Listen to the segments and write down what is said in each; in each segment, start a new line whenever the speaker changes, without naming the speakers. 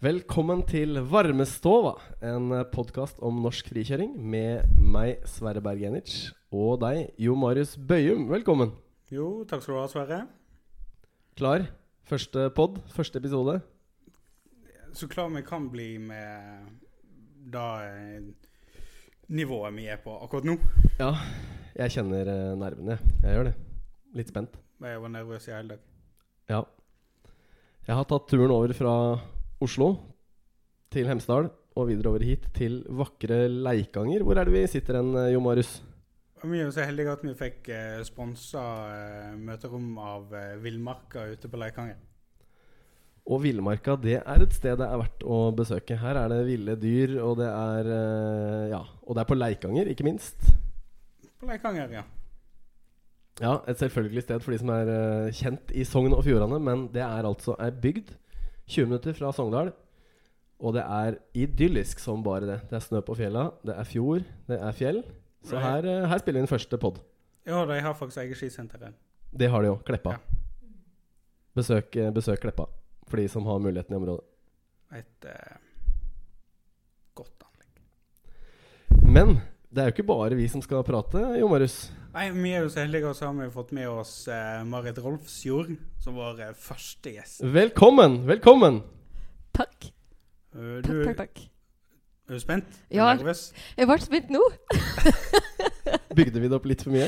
Velkommen til Varmestova, en podkast om norsk frikjøring med meg, Sverre Berg Enic, og deg, Jo Marius Bøyum. Velkommen.
Jo, takk skal du ha, Sverre.
Klar? Første pod, første episode.
Så klar vi kan bli med da eh, nivået vi er på akkurat nå.
Ja, jeg kjenner eh, nervene. jeg. Jeg gjør det. Litt spent.
Jeg var nervøs i hele dag.
Ja. Jeg har tatt turen over fra Oslo til Hemsedal og videre over hit til vakre Leikanger. Hvor er det vi sitter hen, eh, Jo Marius?
Og Vi er jo så heldige at vi fikk eh, sponsa eh, møterom av eh, Villmarka ute på Leikanger.
Og Villmarka det er et sted det er verdt å besøke. Her er det ville dyr, og det er eh, Ja, og det er på Leikanger, ikke minst.
På Leikanger, ja.
Ja, Et selvfølgelig sted for de som er eh, kjent i Sogn og Fjordane, men det er altså ei bygd 20 minutter fra Sogndal. Og det er idyllisk som bare det. Det er snø på fjella, det er fjord, det er fjell. Så
Right.
her, eh, her spiller vi inn første pod.
Ja, de har faktisk eget skisenter der.
Det har de jo. Kleppa.
Ja.
Besøk, eh, besøk Kleppa for de som har muligheten i området.
Et eh, godt anlegg.
Men det er jo ikke bare vi som skal prate, Jo Marius.
Nei, Vi er jo så heldige, og så har vi fått med oss eh, Marit Rolfsjord som vår eh, første gjest.
Velkommen! Velkommen!
Takk.
Eh,
Takk,
Du
takk, takk.
er du spent? Er du
Ja.
Nervøs?
Jeg ble spent nå.
Bygde vi det opp litt for mye?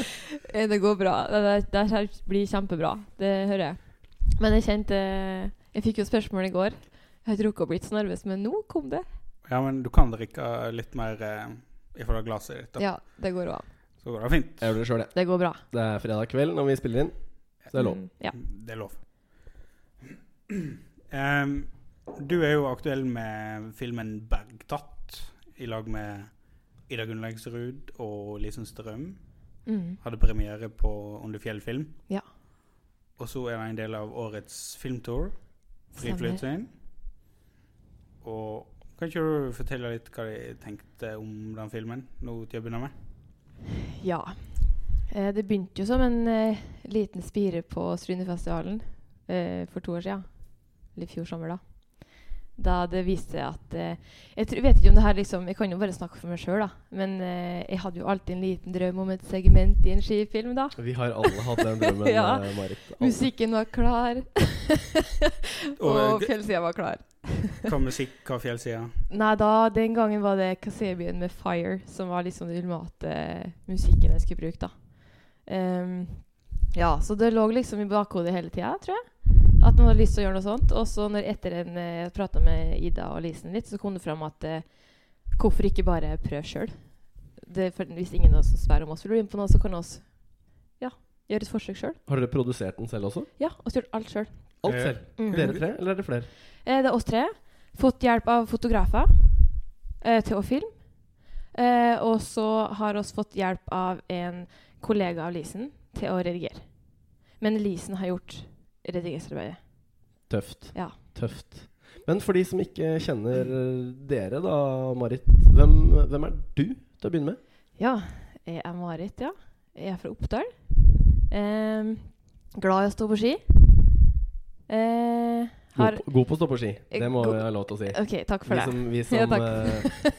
Eh, Det går bra. Det, det, det her blir kjempebra. Det hører jeg. Men jeg kjente eh, Jeg fikk jo spørsmål i går. Jeg har ikke rukket å bli så nervøs, men nå kom det.
Ja, men du kan drikke litt mer eh, ifra det glaset ditt. Da.
Ja, det går an.
Så går det fint.
Jeg gjør det sjøl, jeg.
Det går bra.
Det er fredag kveld når vi spiller inn, så det er lov.
Mm, ja.
Det er lov. Em, du er jo aktuell med filmen 'Bergtatt' i lag med Ida Gunnlagsrud og Lisen Strøm.
Mm.
Hadde premiere på Under Fjell film.
Ja.
Og så er det en del av årets filmtour,
Stemmer.
Friflytsøyen. Og kan ikke du fortelle litt hva de tenkte om den filmen, nå til å begynne med?
Ja. Eh, det begynte jo som en eh, liten spire på Strynefestivalen eh, for to år siden. Eller i fjor sommer, da. Da det viste seg at eh, Jeg tror, vet ikke om det her liksom Jeg kan jo bare snakke for meg sjøl, da. Men eh, jeg hadde jo alltid en liten drøm om et segment i en skifilm, da.
Vi har alle hatt den drømmen,
Ja.
eh, Marit. Alle.
Musikken var klar,
Og- eh,
og fjellsida var klar.
Hva musikk, hva fjellsida?
Nei, da, den gangen var det Kasebyen med 'Fire' som var liksom den ultimate musikken jeg skulle bruke, da. Ehm, ja, så det lå liksom i bakhodet hele tida, tror jeg. At man hadde lyst til å gjøre noe sånt. Og så når etter en, eh, jeg prata med Ida og Lisen litt, så kom det fram at eh, hvorfor ikke bare prøve sjøl? Hvis ingen av oss som sverger om oss vil bli med på noe, så kan oss ja, gjøre et forsøk sjøl.
Har dere produsert den selv også?
Ja, og gjort alt sjøl.
Alt
Eh,
selv? Dere tre, eller er det flere?
Eh, det er oss tre. Fått hjelp av fotografer eh, til å filme. Eh, og så har oss fått hjelp av en kollega av Lisen til å redigere. Men Lisen har gjort redigeringsarbeidet.
Tøft.
Ja.
Tøft. Men for de som ikke kjenner eh, dere, da, Marit. Hvem, hvem er du til å begynne med?
Ja, jeg er Marit, ja. Jeg er fra Oppdal. Eh, glad i å stå på ski. Eh,
God,
har
på- god på å stå på ski. Det må
God-
jeg ha lov til å si.
OK, takk for
Vi
det.
som, vi
Ja,
som,
takk.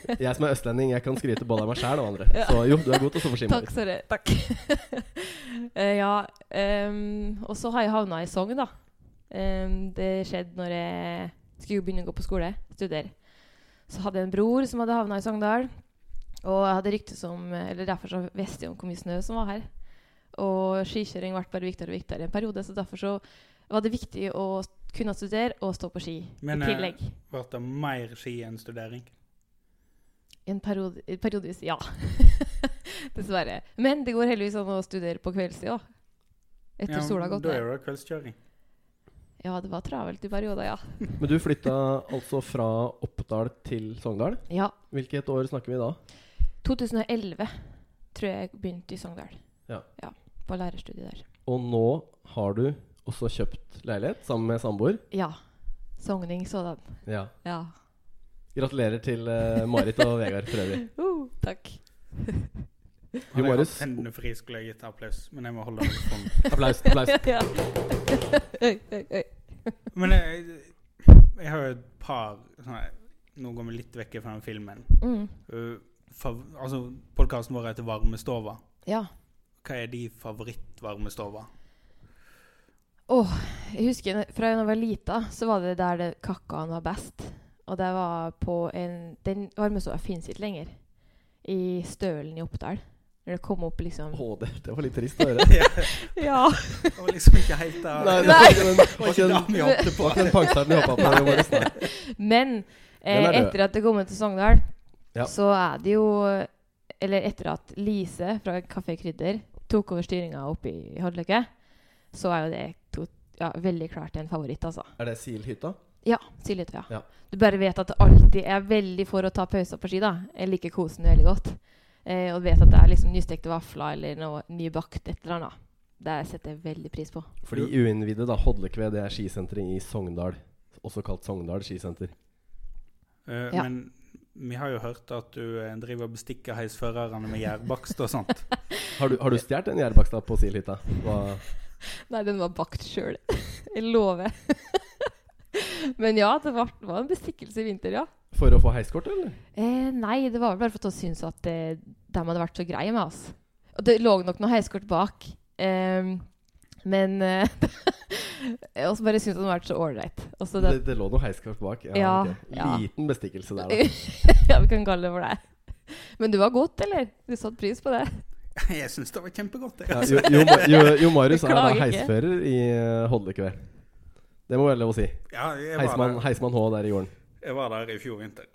eh, jeg som er østlending, jeg kan skryte både av meg sjæl og andre.
Ja.
Så jo, du er god til å stå på ski.
Takk,
Marit.
Sverre. Takk. Eh, ja. ehm, og så har jeg havna i Sogn, da. Ehm, det skjedde når jeg skulle begynne å gå på skole, studere. Så hadde jeg en bror som hadde havna i Sogndal. Og jeg hadde rykte som Eller derfor så visste jeg om hvor mye snø som var her. Og skikjøring ble bare viktigere og viktigere i en periode, så derfor så var det viktig å kunne studere og stå på ski
Men,
i
eh,
tillegg.
Ble det mer ski enn studering?
I En periode, periodevis, ja. Dessverre. Men det går heldigvis an å studere på kveldstid òg. Etter sola har gått
Da
ned.
er det kveldskjøring.
Ja, det var travelt i perioder, ja.
Men du flytta altså fra Oppdal til Sogndal.
Ja.
Hvilket år snakker vi da?
2011 tror jeg jeg begynte i Sogndal.
Ja.
På lærerstudiet der.
Og nå har du også kjøpt leilighet sammen med samboer.
Ja. Sogning sådan.
Ja.
Ja.
Gratulerer til eh, Marit og Vegard for øvrig.
Uh, takk.
Jo,
Hadde jeg hatt
Marius.
hendene fri, skulle jeg gitt applaus, men jeg må holde meg sånn.
Applaus. applaus.
ja. Oi, oi, oi.
Men eh, Jeg har jo et par sånne, Nå går vi litt vekk fra den filmen.
Mm.
Uh, fav, altså, Podkasten vår heter Varmestova.
Ja.
Hva er de favorittvarmestova?
Jeg husker n- fra da jeg var lita, så var det der det kakkaen var best. Og det var på en Den varmestova fins ikke lenger. I Stølen i Oppdal. Når det kom opp, liksom
Å, det, det var litt trist å høre.
Ja.
Det var liksom ikke helt der.
Nei, det
Nei.
var ikke den, var
var ikke
ikke den,
det vi hoppet
var
på.
ikke den pangstarten vi hoppa på. det var det snart.
Men eh,
Den er død.
etter at det kom ut til Sogndal,
Ja.
så er det jo Eller etter at Lise fra Kafé Krydder tok over styringa oppe i Hodløkke, så er jo det to, ja, veldig klart en favoritt, altså.
Er det Silhytta?
Ja, Siljetøya.
Ja.
Du bare vet at det alltid er veldig for å ta pauser på ski, da. Jeg liker kosen veldig godt. Eh, og vet at det er liksom nystekte vafler eller noe nybakt et eller annet. Det setter jeg veldig pris på.
For de uinnvidde, da. Hodlekve, det er skisenteret i Sogndal. Også kalt Sogndal skisenter.
Uh,
Ja.
Men vi har jo hørt at du eh, driver og bestikker heisførerne med gjærbakst og sånt.
Har du, har du stjålet en gjærbakstad på Silhytta? Hva-
Nei, den var bakt sjøl. jeg lover. Men ja, det var, var en bestikkelse i vinter, ja.
For å få heiskort, eller?
Eh, nei, det var vel bare for at hun syntes at eh, de hadde vært så greie med oss. Og det lå nok noe heiskort bak. Eh, men eh, Og så bare syntes hun hadde vært så ålreit. Og så
Det,
det-
det lå noe heiskort bak. Ja,
Ja,
ok.
ja.
Liten bestikkelse der, da.
Ja, vi kan kalle det for det. Men du var godt, eller? Du satte pris på det?
Jeg syns det var kjempegodt. Jeg,
Ja,
altså.
jo, jo, Ma- jo, jo Marius er da
Beklager ikke.
heisfører i eh, Hodlekve. Det må være lov å si.
ja, jeg, var
Heismann,
der,
heismann H der i gården.
jeg var der i fjor vinter.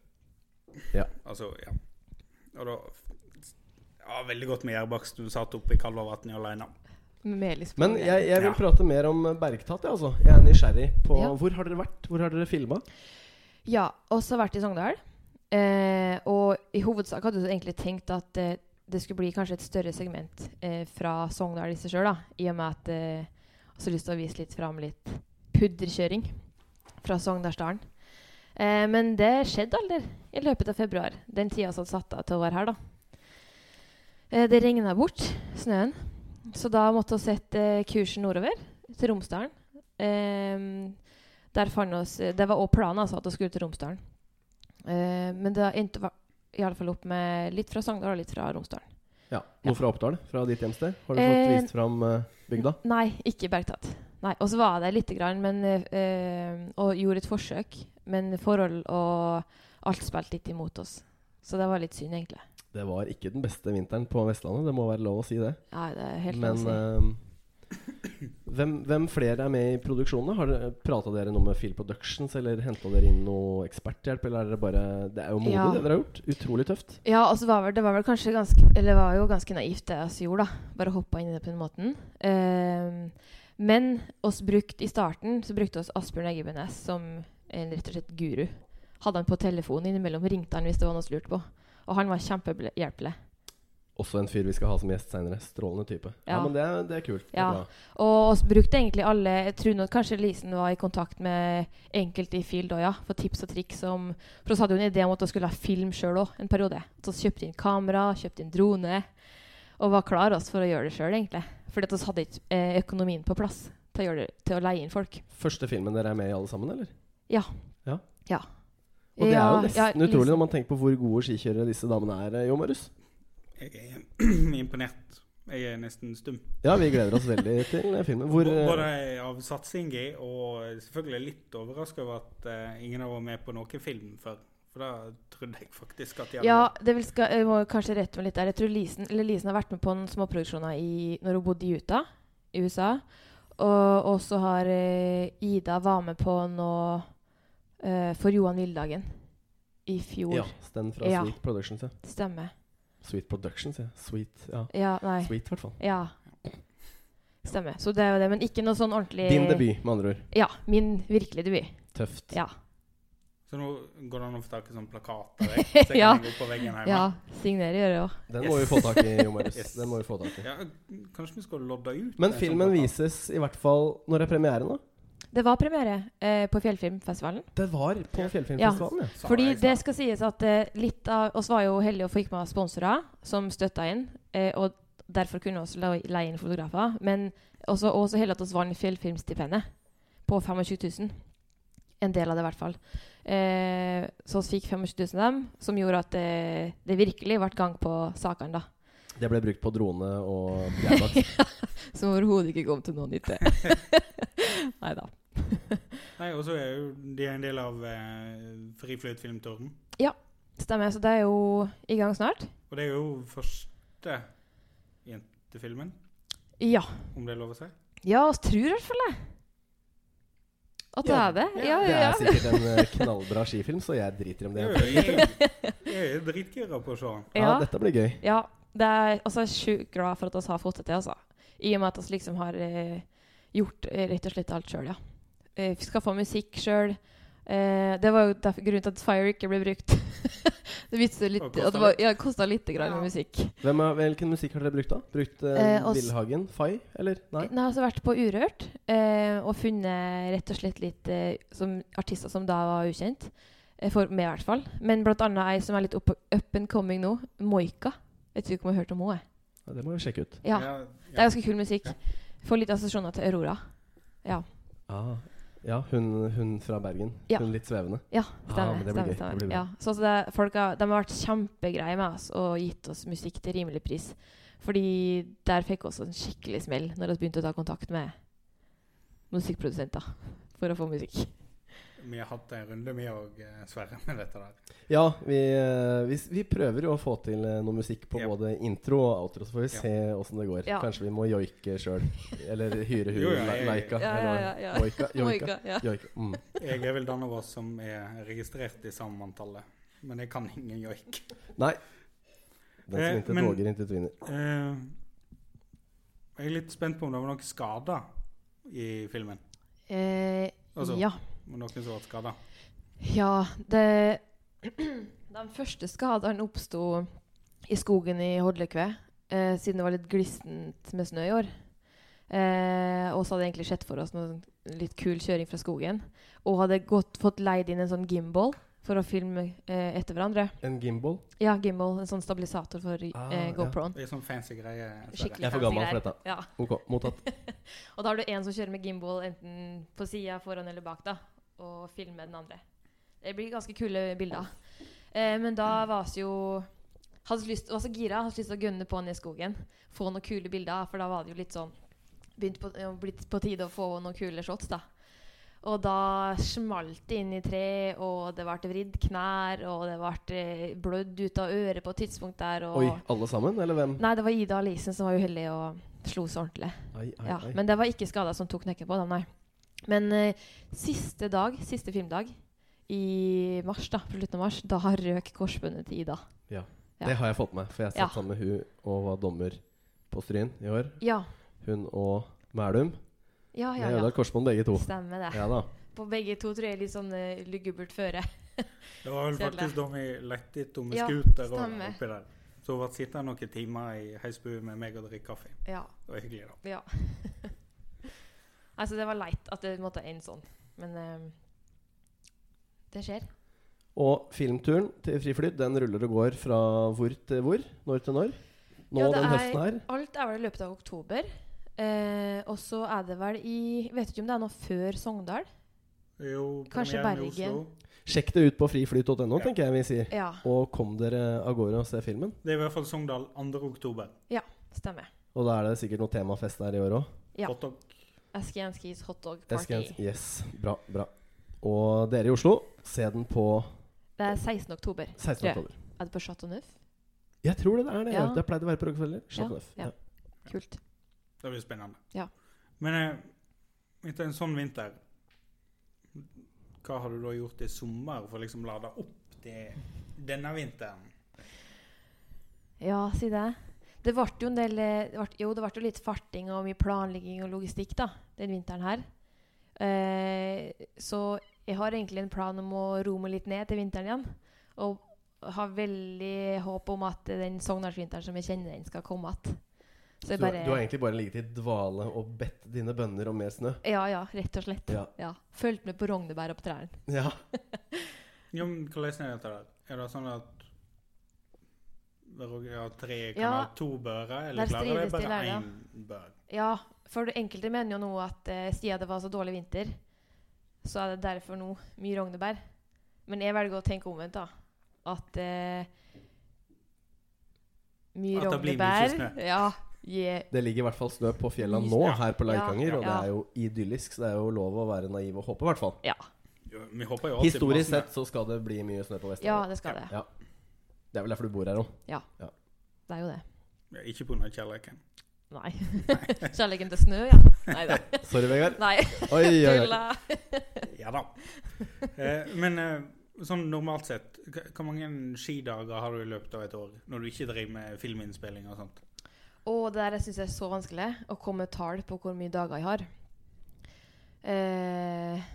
Ja.
Altså, ja. Og da ja, Veldig godt med gjærbakst. Du satt oppe i Kalvavatnet alene.
Med melis på
Men
det.
jeg, jeg vil
Ja.
prate mer om eh, Bergtatt, jeg, altså. Jeg er nysgjerrig på
Ja.
Hvor har dere vært? Hvor har dere filma?
Ja, også vært i Sogndal. Eh, og i hovedsak hadde du egentlig tenkt at eh, det skulle bli kanskje et større segment eh, fra Sogndal i seg sjøl, i og med at eh, jeg også lyst til å vise litt fram litt pudderkjøring fra Sogndalsdalen. Eh, men det skjedde aldri i løpet av februar, den tida som satt av til å være her, da. Eh, det regna bort, snøen, så da måtte vi sette eh, kursen nordover, til Romsdalen. Eh, der fant oss, det var også planen altså, at vi skulle til Romsdalen. Eh, men det endte va- i alle fall opp med litt fra Sogndal og litt fra Romsdalen.
Ja.
Ja.
Noe fra Oppdal? Fra ditt hjemsted? Har du fått
Eh,
vist fram eh, bygda?
Nei, ikke Bergtatt. Nei, Og så var jeg der lite grann men, eh, og gjorde et forsøk. Men forhold og alt spilte litt imot oss. Så det var litt synd, egentlig.
Det var ikke den beste vinteren på Vestlandet, det må være lov å si det.
Nei, det er helt
Men
lov å si.
eh, hvem, hvem flere er med i produksjonene? Har dere, Prata dere noe med Phil Productions, eller henta dere inn noe eksperthjelp? Eller er dere bare Det er jo modig,
Ja.
det dere har gjort. Utrolig tøft.
Ja, og så var vel, det var vel kanskje ganske Eller det var jo ganske naivt det vi gjorde, da. Bare hoppa inn i det på den måten. Ehm, men oss brukt, i starten så brukte oss Asbjørn Eggebenes som en rett og slett guru. Hadde han på telefonen innimellom, ringte han hvis det var noe som lurte på. Og han var kjempehjelpelig.
Også en fyr vi skal ha som gjest seinere. Strålende type. Ja,
Ja.
men det, er- det er kult. Det er
Ja.
bra.
Og oss brukte egentlig alle Jeg tror nok kanskje Lisen var i kontakt med enkelte i Field òg, ja. For tips og triks om For oss hadde jo en idé om at vi skulle ha film sjøl òg, en periode. Så vi kjøpte inn kamera, kjøpte inn drone. Og var klar oss for å gjøre det sjøl, egentlig. Fordi at vi hadde ikke eh, økonomien på plass til å, gjøre det, til å leie inn folk.
Første filmen dere er med i, alle sammen, eller?
Ja.
Og det er jo
Ja, ja,
nesten utrolig når man tenker på hvor gode skikjørere disse damene er, eh, Jo Marius.
Jeg er imponert. Jeg er nesten stum.
Ja, vi gleder oss veldig til eh, filmen. Hvor
B-
eh,
Både av satsing i, og selvfølgelig litt overraska over at eh, ingen har vært med på noen film før. For da trodde jeg faktisk at de hadde
Ja, det vil skal, jeg må kanskje rette meg litt der. Jeg tror Lisen, eller Lisen har vært med på noen småproduksjoner i, når hun bodde i Utah, i USA. Og og så har eh, Ida var med på noe eh, for Johan Vildhagen i fjor.
Ja, Sten fra
Ja.
Sweet Productions, ja.
Stemmer.
Sweet Productions, ja. Sweet, ja.
Ja, nei.
Sweet, i hvert fall.
Ja. Stemmer. Så det er jo det. Men ikke noe sånn ordentlig
Din debut, med andre ord.
Ja. Min virkelige debut.
Tøft.
Ja.
Så nå går det an å få tak i sånne plakater jeg, så jeg kan
Ja.
henge opp på veggen hjemme.
ja. Signerer gjør jeg òg.
Den
Yes.
må vi få tak i, Jo Marius.
Yes.
Den må vi få tak i.
Ja, kanskje vi skal lodde ut
Men
en sånn
filmen
plakat.
vises i hvert fall Når er premieren, da?
Det var premiere eh, på Fjellfilmfestivalen.
Det var på Fjellfilmfestivalen, ja.
Sa
Fordi
jeg
det
snart.
skal sies at eh, litt av oss var jo heldige å få ikke med sponsorer som støtta inn. Eh, og derfor kunne vi la- leie inn fotografer. Men også, også heldig at vi vant Fjellfilmstipendet på 25 000. En del av det, i hvert fall. Eh, så vi fikk 25 000 av dem, som gjorde at det, det virkelig ble gang på sakene, da.
Det ble brukt på drone og bjærbaks.
Som overhodet ikke kom til noen nytte. Nei da.
Nei, og så er jo de er en del av eh, Frifløyt Filmtårn.
Stemmer. Så det er jo i gang snart.
Og det er jo første jentefilmen,
Ja.
om det er lov å si.
Ja, vi tror i hvert fall det. At det
Ja.
er det. Ja,
Det
ja,
er
ja.
sikkert en eh, knallbra skifilm, så jeg driter om det.
Jo, Jeg jeg er dritgira på å se den.
Ja,
ja.
dette blir gøy.
Ja, det er altså sjukt glad for at vi har fått det til, altså. I og med at vi liksom har eh, gjort eh, rett og slett alt sjøl, ja. Eh, vi skal få musikk sjøl. Eh, det var jo derfor, grunnen til at Fire ikke ble brukt. det vitser litt
Og
at
kostet
det var, ja, kosta lite grann
Ja.
med musikk.
Hvem er, hvilken musikk har dere brukt, da? Brukt eh,
Eh, oss-
Villhagen? Fay, eller? Nei?
Nei, altså vært på Urørt eh, og funnet rett og slett litt eh, som artister som da var ukjent. eh, For meg, i hvert fall. Men blant annet ei som er litt up, up and coming nå. Moika. Jeg tror ikke om jeg har hørt om henne. jeg.
Ja, det må vi sjekke ut.
Ja.
Ja,
Det er ganske kul musikk. Får litt assosiasjoner til Aurora.
Ah, ja, hun, hun fra Bergen.
Ja.
Hun litt svevende.
Ja,
Ah,
stemmer.
men det blir
stemmer,
gøy. Det blir bra.
stemmer. Ja. Så altså, det, folk har, de har vært kjempegreie med oss og gitt oss musikk til rimelig pris. Fordi der fikk vi også en skikkelig smell når vi begynte å ta kontakt med musikkprodusenter for å få musikk.
Vi har hatt en runde, vi og eh, Sverre, med dette der.
Ja, vi, eh, vi, s- vi prøver jo å få til eh, noe musikk på
Ja.
både intro og outro, så får vi
Ja.
se åssen det går.
Ja.
Kanskje vi må joike sjøl. Eller hyre
Jo,
hun
ja, jeg-
Laika.
Ja,
eller
ja, ja, ja.
Joika. Joika.
Moika, ja.
joika. Mm.
Jeg er vel den av oss som er registrert i samanntallet. Men jeg kan ingen joik.
Nei. Den
Eh,
som intet
men-
våger, intet vinner.
Eh, jeg er litt spent på om det var noen skader i filmen.
Eh,
Altså,
ja.
om Noen som ble skada.
Ja, det De første skadene oppsto i skogen i Hodlekve, eh, siden det var litt glissent med snø i år. Eh, og så hadde jeg egentlig sett for oss noen litt kul kjøring fra skogen. Og hadde gått, fått leid inn en sånn gimbal for å filme eh, etter hverandre.
En gimbal?
Ja, gimbal, en sånn stabilisator for
Ah,
eh,
ja.
GoProen.
Det er sånn fancy greie. Sverre.
Skikkelig
Jeg er for
fancy
gammel
greier.
for dette.
Ja.
Ok, mottatt.
Og da har du en som kjører med gimbal enten på sida, foran eller bak, da, og filmer den andre. Det blir ganske kule bilder. Eh, men da var vi jo Hadde vi lyst, var så gira, hadde vi lyst til å gønne på ned i skogen. Få noen kule bilder, for da var det jo litt sånn begynt på, eh, blitt på tide å få noen kule shots, da. Og da smalt det inn i tre, og det ble vridd knær, og det ble eh, blødd ut av øret på et tidspunkt der. Og
Oi, alle sammen, eller hvem?
Nei, det var Ida Alisen som var uheldig og slo så ordentlig.
Ai, ai,
Ja,
ai.
men det var ikke skader som tok knekken på dem, nei. Men eh, siste dag, siste filmdag, i mars, da, på slutten av mars, da har røk korsbåndet til Ida. ja.
Det har jeg fått med meg, for jeg satt
Ja.
sammen med hun og var dommer på Stryn i år.
Ja,
Hun og Mælum.
ja,
Vi
ja.
ødela
ja.
korsbånd begge to.
Stemmer det.
Ja da.
På begge to tror jeg litt sånn eh, lugubert føre.
Det var vel
Kjedelig.
faktisk da vi lette etter med
Ja,
scooter og
stemmer.
oppi der. Så hun ble sittende noen timer i heisbua med meg og drikke kaffe.
Ja.
Det var hyggelig, da.
ja. altså, det var leit at det måtte ende sånn, men eh, det skjer.
Og filmturen til Friflyt den ruller og går fra hvor til hvor? Når til når? Nå
Ja, det
den
er-
høsten her?
Alt er vel i løpet av oktober. Eh, og så er det vel i Vet ikke om det er noe før Sogndal?
Jo,
Kanskje
premieren i
Bergen.
Oslo.
Sjekk det ut på friflyt.no,
Ja.
tenker jeg vi sier.
Ja,
Og kom dere av gårde og se filmen.
Det er i hvert fall Sogndal 2. oktober.
stemmer.
Og da er det sikkert noe temafest der i år òg.
Ja.
Hotdog.
Askianskis hotdog party.
Yes. Bra, bra. Og dere i Oslo, se den på
Det er 16. oktober.
16.
Ja.
oktober.
Er det på Chateau Neuf?
Jeg tror det er det. Ja.
Ja.
Det pleide å være på Rockefeller. Chateau Neuf.
ja.
Ja.
Kult.
Det blir spennende.
Ja.
Men eh, etter en sånn vinter, hva har du da gjort i sommer for å liksom lade opp det, denne vinteren?
Ja, si det. Det ble jo en del eh, det vart- Jo, det ble jo litt farting og mye planlegging og logistikk da, den vinteren her. Eh, så jeg har egentlig en plan om å roe meg litt ned til vinteren igjen. Og har veldig håp om at eh, den sognalsvinteren som jeg kjenner den, skal komme igjen. Så
Du,
jeg bare
du har egentlig bare ligget i dvale og bedt dine bønner om mer snø.
Ja, ja, rett og slett.
Ja.
Ja. Fulgt med på rognebær opp trærne.
Ja.
Jo, men hvordan er dette der? Er det sånn at Roger har tre, kan
Ja.
ha to bører,
Der
eller klarer det
strides
bare
de lærde.
én bør?
Ja, for det enkelte mener jo nå at eh, siden det var så dårlig vinter, så er det derfor nå mye rognebær. Men jeg velger å tenke omvendt, da. At eh, mye
At det blir mye
rognebær
snø.
Ja. gir
Det ligger i hvert fall snø på fjella
Mye
nå,
snø.
her på
Ja,
Leikanger, og det
ja.
er jo idyllisk, så det er jo lov å være naiv og håpe, i hvert fall.
ja.
Jo, Vi håper jo alltid
Historisk
masse-
sett så skal det bli mye snø på
ja,
Vestlandet.
det skal det.
Ja. Det er vel derfor du bor her òg.
Det er jo det.
Ja, Ikke pga. kjærligheten.
Nei. Kjærligheten til snø, ja. Nei da.
Sorry, Vegard.
Nei,
Oi, oi, oi.
tulla.
Ja da. Eh, men eh, sånn normalt sett, hva- hvor mange skidager har du i løpet av et år når du ikke driver med filminnspilling og sånt?
Og det der jeg syns er så vanskelig, å komme med tall på hvor mye dager jeg har. Eh,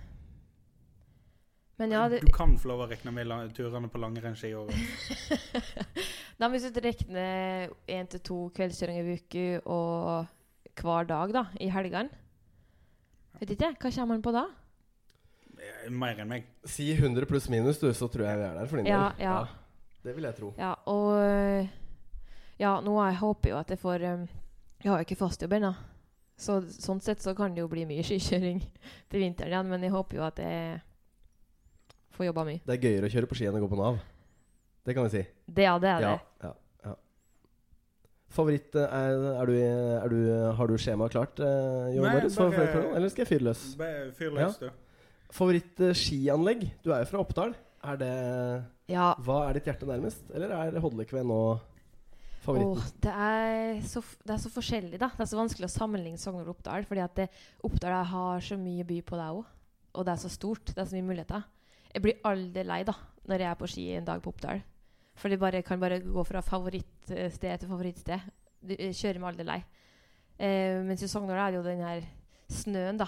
men ja, det,
Du kan få lov å regne med la- turene på langrennsski i året.
Nei, men hvis du regner én til to kveldskjøringer i uke og hver dag da, i helgene Vet ikke, hva kommer man på da?
Eh, Mer enn meg.
Si 100 pluss minus, du, så tror jeg vi er der for din
Ja,
del.
ja.
Det vil jeg tro.
Ja, og øh, Ja, nå har jeg håper jo at jeg får øhm, Jeg har jo ikke fastjobb ennå. Så sånn sett så kan det jo bli mye skikjøring til vinteren igjen, men jeg håper jo at jeg får jobba mye.
Det er gøyere å kjøre på ski enn å gå på Nav. Det kan vi si.
Det, ja, det er det.
Ja, ja, ja. Favoritt eh, er, er, du, i- er du, Har du skjemaet klart, eh, Jon
Nei,
Marius?
bare-
Hva- hva- Eller skal jeg fyre løs?
Bare Fyr
Ja.
løs, du.
Favoritt-skianlegg? Du er jo fra Oppdal. Er det,
Ja.
hva er ditt hjerte nærmest? Eller er Hodlekve nå favoritten?
Åh, det, er så, f- det er så forskjellig, da. Det er så vanskelig å sammenligne Sogndal og Oppdal. Fordi at det, Oppdal har så mye by på deg òg. Og det er så stort. Det er så mye muligheter. Jeg blir aldri lei da når jeg er på ski en dag på Oppdal. For jeg bare, kan bare gå fra favorittsted til favorittsted. Du jeg kjører meg aldri lei. Eh, mens i Sogndal er det jo den her snøen, da.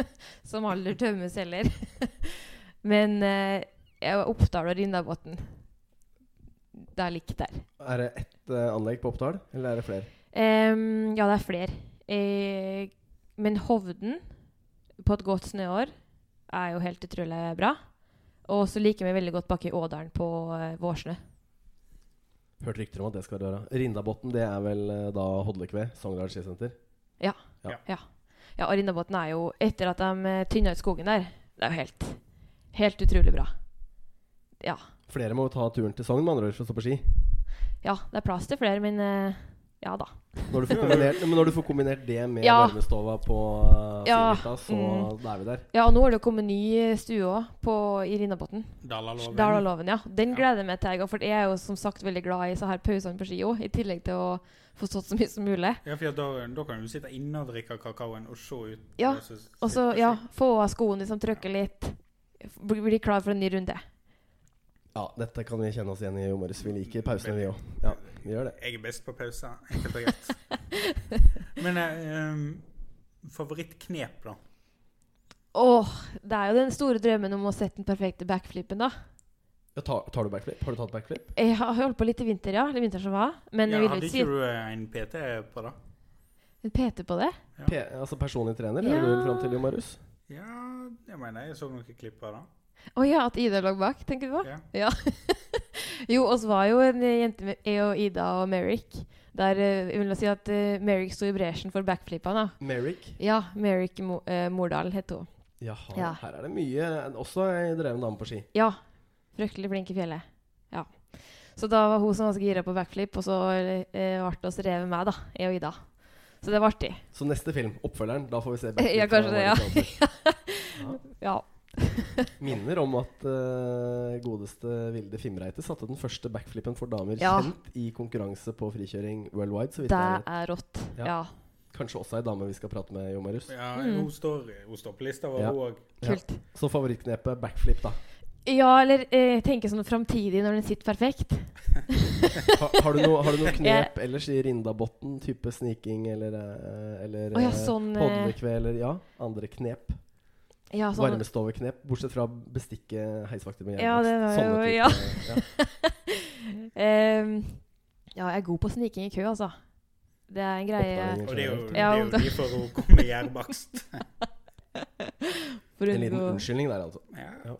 som aldri tømmes heller. Men eh, jeg var Oppdal og Rindabotn. Det er likt der.
Er det ett eh, anlegg på Oppdal, eller er det flere?
Ehm, ja, det er flere. Eh, men Hovden, på et godt snøår, er jo helt utrolig bra. Og så liker vi veldig godt bak i Ådalen på eh, vårsnø.
Hørt rykter om at det skal være Rindabotn, det er vel eh, da Hodlekve, Sogndal skisenter.
Ja, og Rinnabotn er jo, etter at de eh, tynna ut skogen der, det er jo helt, helt utrolig bra.
Flere må jo ta turen til Sogn med andre ord for å stå på ski.
Ja, det er plass til flere, men eh, ja da.
Når du får kombinert, men når du får kombinert det med
Ja.
varmestova på eh,
Ja,
Sivilta, så
mm.
da er vi der.
Ja, og nå er det jo kommet ny eh, stue òg, på- i Rinnabotn.
Dalaloven.
Dalaloven, ja. Den
Ja.
gleder jeg meg til. jeg går, For jeg er jo som sagt veldig glad i så her pausene på ski òg, i tillegg til å få stått så mye som mulig.
Ja, for da, da kan du sitte inne og drikke kakaoen og se ut.
Ja,
og så sitte
Og så,
på ski.
ja, få av skoene, liksom, trykke litt. Bli bli klar for en ny runde.
Ja, dette kan vi kjenne oss igjen i, Jo Marius. Vi liker pausene, vi òg. Ja, vi gjør det.
Jeg er best på pause, enkelt og greit. Men eh, um, favorittknep, da?
Åh, det er jo den store drømmen om å sette den perfekte backflipen, da.
Ja, tar, tar du backflip? Har du tatt backflip?
Jeg har holdt på litt i vinter, ja. Eller vinteren som var. Men
ja,
jeg vil
hadde
jo
ikke
ikke
du eh, en PT på det?
si en PT på det.
Ja.
P altså personlig trener, er
Ja.
du vel fram til, Jo Marius?
Ja, jeg mener jeg så noen klipp av det.
Å ja, at Ida lå bak, tenker du på?
Ja.
Jo, oss var jo en jente med jeg og Ida og Merrick. Der eh, jeg vil nå si at eh, Merrick sto i bresjen for backflipene, da.
Merrick?
Ja, Merrick Mo eh, Mordal het hun.
Jaha,
Ja.
her er det mye. Også ei dreven dame på ski.
Ja. Fryktelig flink i fjellet. Ja. Så da var hun som var så gira på backflip, og så eh, ble det oss revet med, da. Jeg og Ida. Så det var artig.
Så neste film, oppfølgeren, da får vi se
Ja, kanskje det, ja.
det,
Ja.
Minner om at eh, godeste Vilde Fimreite satte den første backflipen for damer
Ja.
kjent i konkurranse på frikjøring worldwide. Så vidt
Det
jeg vet.
er rått.
Ja.
Ja.
Kanskje også ei dame vi skal prate med, Jo Marius.
Ja,
Mm.
hun, står, hun står på lista vår,
Ja.
hun òg.
Kult.
Så favorittknepet backflip, da.
Ja, eller eh, tenke sånn framtidig når den sitter perfekt.
Ha, har, du noe, har du noe knep ellers i Rindabotn? Type sniking eller, eh, eller
Å ja,
eh,
sånn, eh,
Hodnekve eller ja, andre knep.
Ja, sånn.
Varmestoveknep. Bortsett fra bestikke heisvakter med
Ja, det var jo- ja.
type, ja.
Ehm, ja, jeg er god på sniking i kø, altså. Det er en greie
Oppdaginger
Og det er jo,
generelt.
det
Ja,
er
om
jo
det-
derfor hun kom med gjærbakst.
for å
En liten
unngå
unnskyldning der, altså.
Ja.
Ja.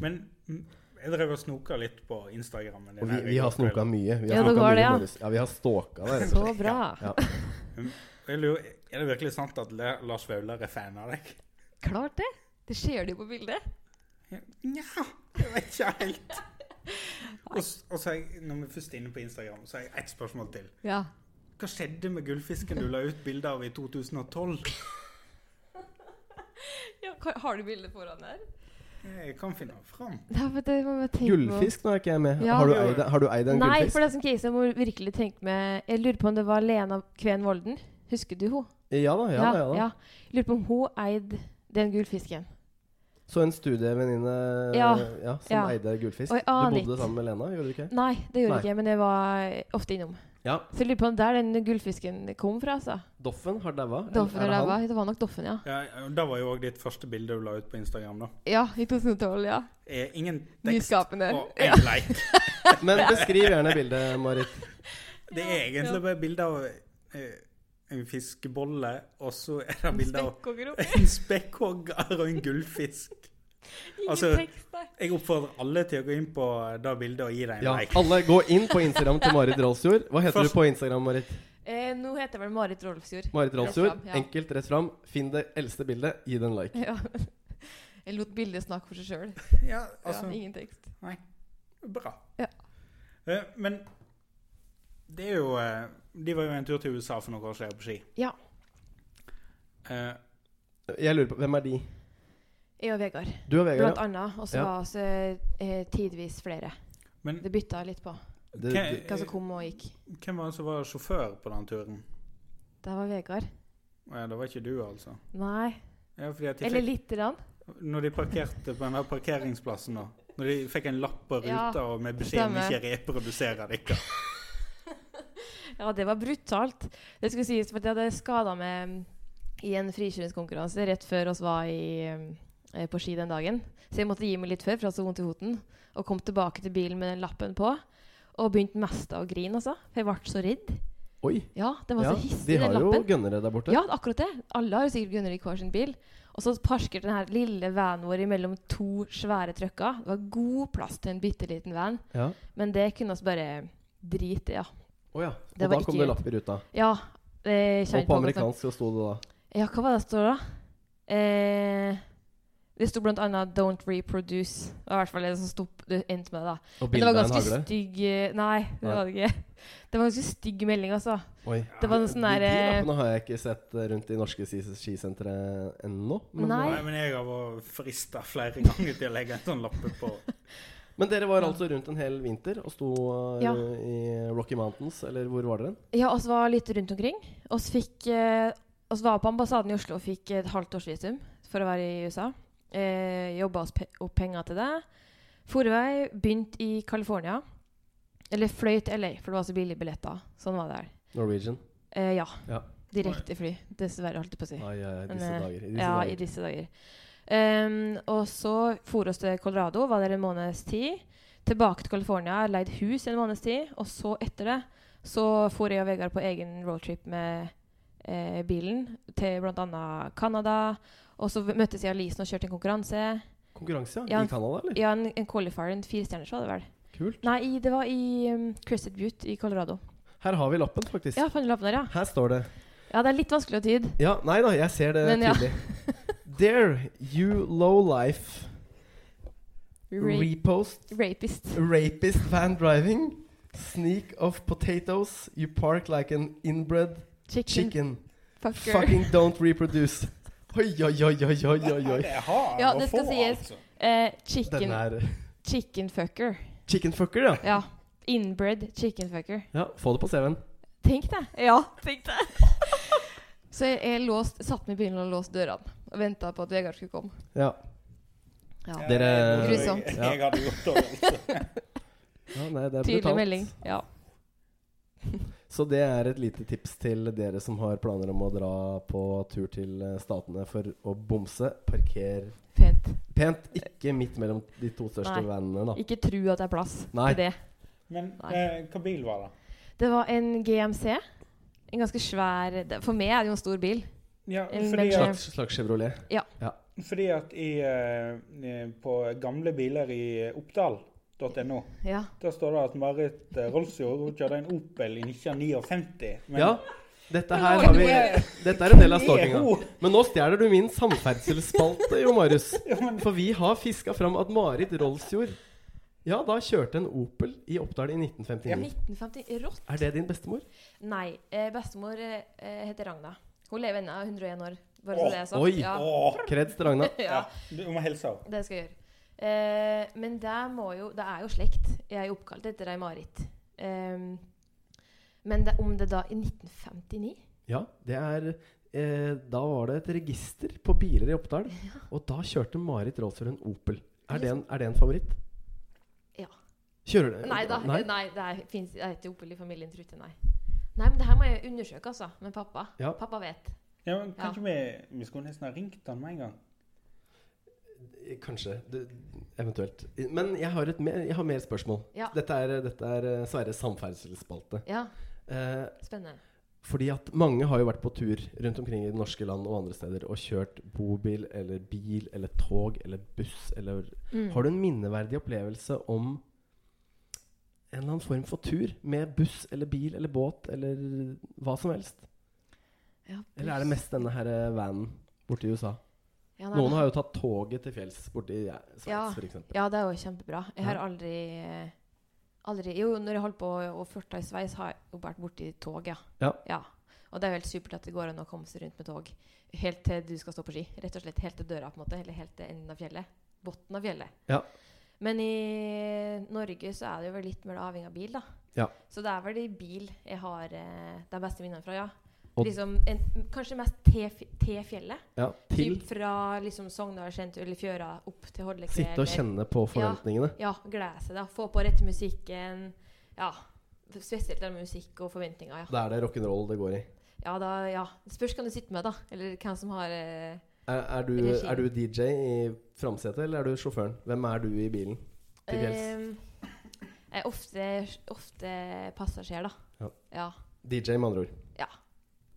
Men mm, jeg drev og snoka litt på Instagrammen.
Og vi, vi har snoka mye. Vi har
Ja,
snoka
dere
mye,
har det, ja.
Marius. ja, vi har stalka deg, rett og
Så
slett.
bra.
Ja.
Jeg lurer, er det virkelig sant at Le- Lars Vaular er fan av deg?
Klart det. Det ser du jo på bildet.
Nja, jeg vet ikke helt. Og, s- og så er jeg, når vi først er inne på Instagram, så har jeg ett spørsmål til.
Ja.
Hva skjedde med gullfisken du la ut bilde av i 2012?
hva- har du bildet foran der?
Jeg kan finne det fram.
Ja, men det må jeg tenke på.
Gullfisk, nå er ikke jeg med.
Ja.
Har, du eid, har du eid en
Nei,
gullfisk?
for det som case jeg må virkelig tenke med Jeg lurer på om det var Lena Kven Volden. Husker du henne?
Ja da, ja, da, ja da.
Jeg Lurer på om hun eide den gullfisken.
Så en studievenninne ja.
Ja.
som
Ja. ah,
eide gullfisk.
Og jeg aner
du bodde
ikke.
sammen med Lena, gjorde du ikke?
Nei, det gjorde
Nei.
ikke jeg, men jeg var eh, ofte innom.
Ja.
Så jeg lurer på om der den gullfisken kom fra, altså.
Doffen har daua.
Doffen
Er
og
det han?
ræva. Det var nok Doffen, ja.
Ja, det var jo òg ditt første bilde du la ut på Instagram, da.
Ja, i 2012, ja.
Eh, ingen tekst
Nyskapende.
og
Ja.
én like.
Men beskriv gjerne bildet, Marit.
Det er egentlig bare bilde av eh, en fiskebolle, og så er det bilde av
Spekkhoggere.
en spekkhogger og en gullfisk.
Ingen
Altså-
tekst der.
Jeg oppfordrer alle til å gå inn på det bildet og gi deg en
Ja,
like.
alle gå inn på Instagram til Marit Rolfsjord. Hva heter
Først-
du på Instagram, Marit?
Eh, nå heter jeg vel Marit Rolfsjord.
Marit Rolfsjord.
Rett fram, ja.
Enkelt, rett fram. Finn det eldste bildet, gi det en like.
Ja. Jeg lot bildet snakke for seg sjøl.
Ja, altså,
ja, ingen tekst.
Bra.
Ja.
Eh, men det er jo eh, De var jo en tur til USA for noen år siden på ski.
Ja.
Eh,
Jeg lurer på, Hvem er de?
Jeg og Vegard,
Du og Vegard.
blant annet. Og så
Ja.
var vi eh, tidvis flere.
men
Det bytta litt på
ja. Du, du,
hva som kom og gikk.
hvem var det som var sjåfør på den turen?
Der var Vegard.
Ja, det var ikke du, altså.
Nei.
Ja, fordi at de
Eller
fikk,
lite grann.
når de parkerte på den her parkeringsplassen, da. Når de fikk en lapp på
Ja,
ruta og med beskjed om
stemmer.
ikke å reprodusere dere.
Ja, det var brutalt. Det skulle sies, for jeg hadde skada meg mm, i en frikjøringskonkurranse rett før oss var i, mm, eh, på ski den dagen. Så jeg måtte gi meg litt før, for jeg hadde så vondt i hoten. Og kom tilbake til bilen med den lappen på. Og begynte mest av å grine, altså. For jeg ble så redd.
oi.
Ja, den var
Ja,
så hissig,
de
den
har jo
lappen.
gønnere der borte.
Ja, akkurat det. Alle har jo sikkert gunner i hver sin bil. Og så parker den her lille vanen vår mellom to svære trucker. Det var god plass til en bitte liten van,
Ja.
men det kunne vi bare drite i, ja.
Å ja.
Det
Og
var
da kom det
ikke greit.
lapp i ruta.
Ja, eh,
Og
det
på
kjenner på godt, men-
amerikansk så sto det da
Ja, hva var det det står da? Eh, det sto blant annet 'Don't reproduce'. Det var i hvert fall det som sto, det endte med det.
Og
da. Men det var
bildet er en
ganske
hagle.
stygg eh, Nei, det
Nei.
var det ikke. Det var ganske stygg melding, altså.
Oi.
Det var en sånn
De
der eh,
lappene har jeg ikke sett eh, rundt i norske skis- skisentre ennå. Men,
Nei.
Nei, men jeg har vært frista flere ganger til å legge en sånn lappe på.
men dere var altså rundt en hel vinter og sto eh,
Ja.
i Rocky Mountains, eller hvor var dere?
Ja, oss var litt rundt omkring. Oss fikk eh, oss var på ambassaden i Oslo og fikk et halvt årsvisum for å være i USA. Eh, Jobba oss pe opp penger til det. Forvei begynte i California. Eller fløy til LA, for det var så billige billetter. Sånn var det der.
Norwegian.
Eh, ja.
Ja.
Direkte fly. Dessverre, holdt jeg på å si.
Ai, ai, ai, disse
Men, eh,
dager. I disse
Ja, i
dager.
disse dager. Ehm, og så for oss til Colorado, var der en måneds tid. Tilbake til California, leid hus i en måneds tid. Og så etter det så for jeg og Vegard på egen roadtrip med eh, bilen til bl.a. Canada. Og så møttes jeg og Lisen og kjørte en konkurranse.
Konkurranse, ja.
Ja.
I Canada, eller?
Ja, en, en qualifier, en firestjerners var det vel.
Kult.
Nei, i, det var i um, Crested Butte i Colorado.
Her har vi lappen, faktisk.
Ja, fant du lappen der, ja?
Her står det
Ja, det er litt vanskelig å tyde.
Ja, nei da, jeg ser det
Men ja.
tydelig. Dare you low life
Ra
repost
rapist.
Rapist van driving. Sneak of potatoes. You park like an inbred
Chicken,
chicken.
fucker.
Fucking don't reproduce. Oi, oi, oi, oi, oi, oi, oi.
Det har
Ja,
å
det skal
få,
sies.
altså.
Eh,
Den
chicken,
er
chicken fucker.
Chicken fucker, ja.
Ja. Inbred chicken fucker.
ja. Få det på CV-en.
Tenk deg. Ja, tenk deg. Så jeg, jeg låst, satt med bilen og låste dørene og venta på at Vegard skulle komme.
Ja.
Ja.
Ja,
Dere-
jeg-
Grusomt.
Jeg,
Ja.
jeg hadde gjort det. altså.
ja nei, det er
Tydelig
brutalt.
melding. Ja.
Så det er et lite tips til dere som har planer om å dra på tur til eh, Statene for å bomse. Parker
Pent.
pent, ikke midt mellom de to største
Nei.
vanene, da.
Ikke tru at det er plass
Nei.
til det.
Men
Nei.
eh, hva bil var det?
Det var en GMC. En ganske svær det- For meg er det jo en stor bil.
Ja,
En
fordi
Bentley.
at,
Slags, slags Chevrolet.
fordi at i, eh, på gamle biler i oppdal.no
Ja.
der står det at Marit eh, Rolfsjord hun kjørte en Opel i 1959. Men
Ja, Dette her har vi Dette er en del av stalkinga.
Jo,
Men nå stjeler du min samferdselsspalte, Jo Marius.
ja, men
For vi har fiska fram at Marit Rolfsjord Ja, da kjørte en Opel i Oppdal i 1959.
1950. Rått.
Er det din bestemor?
Nei. Eh, bestemor eh, eh, heter Ragna. Hun lever ennå, 101 år. Bare så
Åh,
det er sagt.
oi.
Ja.
Åh,
Kreds til Ragna.
ja,
ja. Du må hilse henne.
det skal jeg gjøre. Eh, men det må jo Det er jo slekt. Jeg er jo oppkalt etter ei Marit. Ehm, men det, om det da i 1959
Ja, det er eh, Da var det et register på biler i Oppdal, og da kjørte Marit Rolfsjord en Opel. Er det en, er det en favoritt?
Ja.
Kjører det?
Nei da. Nei,
Eh, Nei?
det er, finnes, jeg er ikke Opel i familien, tror jeg. Nei. nei, men det her må jeg undersøke, altså. Med pappa.
Ja.
Pappa vet.
Ja, men kanskje vi, vi skulle nesten ha ringt han med en gang.
Kanskje. Det, eventuelt. Men jeg har, et mer, jeg har mer spørsmål.
Ja.
Dette er, dette er eh, Sverres samferdselsspalte.
Ja,
Eh,
spennende.
Fordi at mange har jo vært på tur rundt omkring i det norske land og andre steder og kjørt bobil eller bil eller tog eller buss eller
Mm.
Har du en minneverdig opplevelse om en eller annen form for tur med buss eller bil eller båt eller hva som helst?
Ja,
Eller er det mest denne her eh, vanen borte i USA?
ja, nei,
Noen har jo tatt toget til fjells borte i eh,
Ja.
Sveits, for f.eks.
Ja, det er jo kjempebra. Jeg har
Ja.
aldri eh, Aldri Jo, når jeg holdt på å- å flørte i Sveits, har jeg jo vært borti tog, ja.
Ja.
Og det er jo helt supert at det går an å komme seg rundt med tog helt til du skal stå på ski. Rett og slett helt til døra, på en måte. Eller helt til enden av fjellet. Bunnen av fjellet.
Ja.
Men i Norge så er det jo vel litt mer avhengig av bil, da.
Ja.
Så det er vel i bil jeg har eh, de beste minnene fra, ja.
Og-
Liksom en, kanskje mest til fj- til fjellet.
Ja, til
Typ fra liksom Sogndal sentrum eller fjøra opp til Hodlekve.
sitte og
eller-
kjenne på forventningene.
Ja, glede seg. da. Få på rett musikken. Ja. Spesielt den med musikk og forventninger. Ja.
Da er det rock'n'roll det går i.
Ja, da, ja. Det spørs hvem du sitter med, da. Eller hvem som har eh,
Er, er, du,
Regi.
er du DJ i framsetet, eller er du sjåføren? Hvem er du i bilen? Til fjells.
ehm, Jeg er ofte, ofte passasjer, da.
Ja.
ja.
DJ, med andre ord.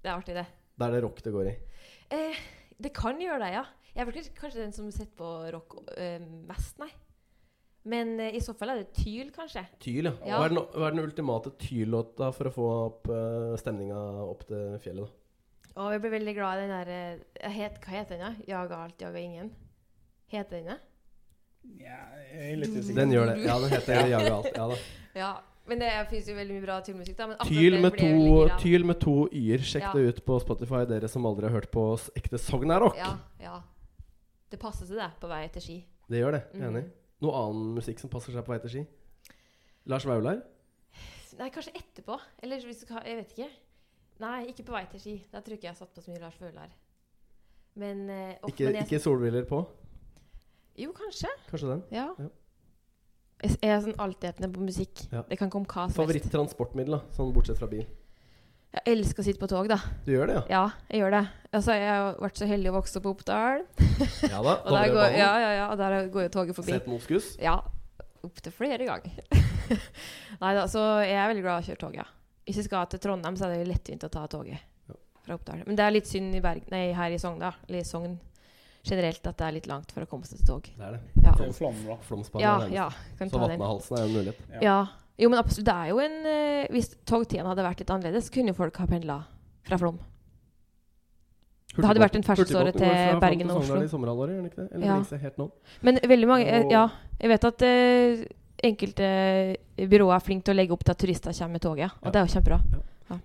Det er artig, det.
Da er det rock det går i.
Eh, det kan gjøre det, ja. Jeg er vel kanskje- kanskje den som sitter på rock eh, mest, nei. Men eh, i så fall er det Tyl, kanskje.
Tyl, ja.
Ja.
Hva, er den, hva er den ultimate tyllåta for å få opp eh, stemninga opp til fjellet, da?
Og jeg ble veldig glad i den der eh, jeg het, Hva heter den, da? Jaga alt, jaga ingen. Heter den det?
Ja, jeg er litt usikker.
Den gjør det. Ja, den heter Jaga alt. Ja, da.
Ja, men det fins jo veldig mye bra tylmusikk, da. Men akkurat
Tyl
den
med
ble
to,
jeg veldig glad.
tyl med to y-er. Sjekk
Ja.
det ut på Spotify, dere som aldri har hørt på s- ekte Sognarock.
Ja, ja. Det passer seg, det, på vei til ski.
Det gjør det. Jeg er
Mhm.
enig. Noe annen musikk som passer seg på vei til ski? Lars Vaular?
Nei, kanskje etterpå. Eller hvis du kan Jeg vet ikke. Nei, ikke på vei til ski. Da tror jeg ikke jeg satt på så mye Lars Vaular. Men, eh, off,
Ikke,
men jeg,
ikke solbriller på?
Jo, kanskje.
Kanskje den?
Ja.
Ja.
Jeg s- jeg er sånn altetende på musikk.
Ja.
Det kan komme hva som helst.
Favoritt-transportmiddel, da? Sånn bortsett fra bil.
Jeg elsker å sitte på tog, da.
Du gjør det, ja?
Ja, jeg gjør det. Altså, jeg har vært så heldig å vokse opp på Oppdal.
Ja da.
Og der går,
Dovrebanen.
ja, ja, ja, og der går jo toget forbi.
Sett moskus.
Ja, opptil flere ganger. Nei da, så jeg er veldig glad i å kjøre tog, ja. Hvis jeg skal til Trondheim, så er det lettvint å ta toget
Ja.
fra Oppdal. Men det er litt synd i Berg nei, her i Sogn, da. Eller i Sogn generelt, at det er litt langt for å komme seg til tog.
Det er det.
Ja,
Det er jo Flom, da.
Flomspannet
ja.
er det.
ja kan
Så
ta den.
Vatnahalsen er jo en mulighet.
Ja.
Ja. Jo, men absolutt, det er jo en eh, Hvis togtiden hadde vært litt annerledes, så kunne jo folk ha pendla fra Flom. Det hadde vært en ferdselsåre
Hurtigbåten går fra
til
Flåm
Bergen og
Sogndal
Oslo.
i sommerhalvåret, gjør den ikke det? Eller
Ja.
Ringse helt nå?
Men veldig mange eh,
Og-
Ja. Jeg vet at eh, enkelte eh, byråer er flinke til å legge opp til at turister kommer med toget, ja. og
Ja.
det er jo kjempebra.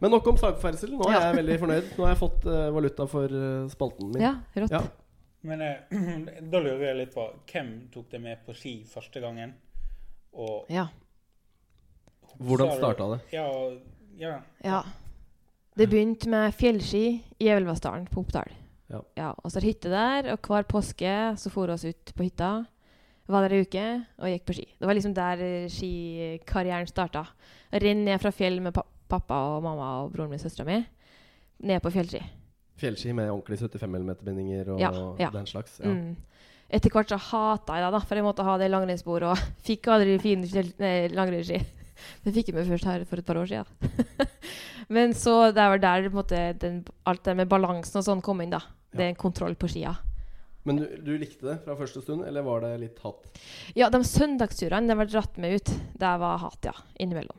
Men nok om samferdsel. Nå er
Ja.
jeg veldig fornøyd. Nå har jeg fått eh, valuta for eh, spalten min.
Ja, rått.
Ja.
Men eh, da lurer jeg litt på hvem tok deg med på ski første gangen? Og
Ja.
Hvordan
sa du-
starta det?
Ja, ja.
ja. Det begynte med fjellski i Evelvassdalen på Oppdal.
Ja.
og så er det hytte der, og hver påske så for vi oss ut på hytta. Var der ei uke og gikk på ski. Det var liksom der eh, skikarrieren starta. Renn ned fra fjell med pa pappa og mamma og broren min og søstera mi. Ned på fjellski.
Fjellski med ordentlig 75 mm-bindinger og
Ja, ja.
den slags. Ja.
Mm. Etter hvert så hata jeg det, da, for jeg måtte ha det i langrennsspor. Og fikk aldri fine fjell- nei, langrennsski. Det fikk jeg meg først her for et par år siden. Men så det var der på en måte, den, alt det med balansen og sånn kom inn, da. Det er en kontroll på skia.
Men du, du likte det fra første stund, eller var det litt hatt?
Ja, de søndagsturene de ble dratt med ut, det var hat, ja. Innimellom.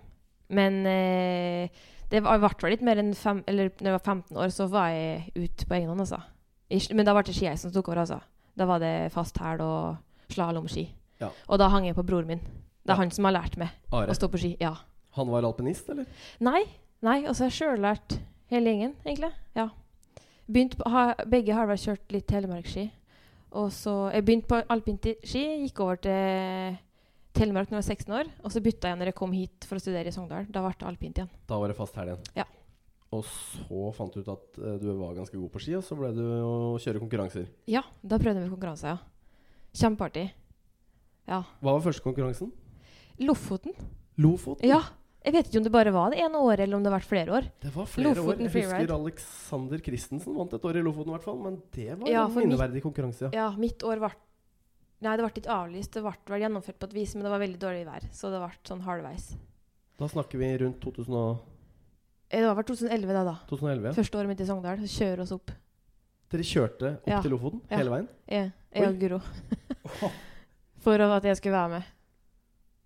Men eh, det var i hvert fall ikke mer enn fem, eller når jeg var 15 år, så var jeg ute på egen hånd, altså. I, sk- men da var det ski jeg som tok over, altså. Da var det fast hæl og slalåmski.
Ja.
Og da hang jeg på broren min. Det er
Ja.
han som har lært meg
Are.
å stå på ski. Ja.
Han var alpinist, eller?
Nei. nei, Og så har jeg sjøl lært hele gjengen, egentlig. Ja. Begynt på, ha, begge har vel kjørt litt telemarksski. Og så Jeg begynte på alpint ski, gikk over til Telemark når jeg var 16 år. Og så bytta jeg når jeg kom hit for å studere i Sogndal. Da ble det alpint igjen.
Da var det fast helg igjen.
Ja.
Og så fant du ut at eh, du var ganske god på ski, og så ble du å kjøre konkurranser.
Ja, da prøvde vi konkurranser, ja. Kjempeartig. Ja.
Hva var første konkurransen?
Lofoten.
Lofoten?
Ja. Jeg vet ikke om det bare var det ene året, eller om det har vært flere år.
Det var flere
Lofoten
år. Jeg
freeride.
husker Alexander Christensen vant et år i Lofoten, i hvert fall. Men det var
Ja,
en
for mitt-
minneverdig konkurranse. Ja.
Ja, mitt år ble Nei, det ble ikke avlyst. Det ble vel gjennomført på et vis, men det var veldig dårlig vær. Så det ble sånn halvveis.
Da snakker vi rundt 2000 og,
Eh, Det var vel 2011 da, da.
2011. Ja.
Første året mitt i Sogndal. Så kjører oss opp.
Dere kjørte opp
Ja.
til Lofoten
Ja.
hele veien?
Jeg, jeg E og Guro. For at jeg skulle være med.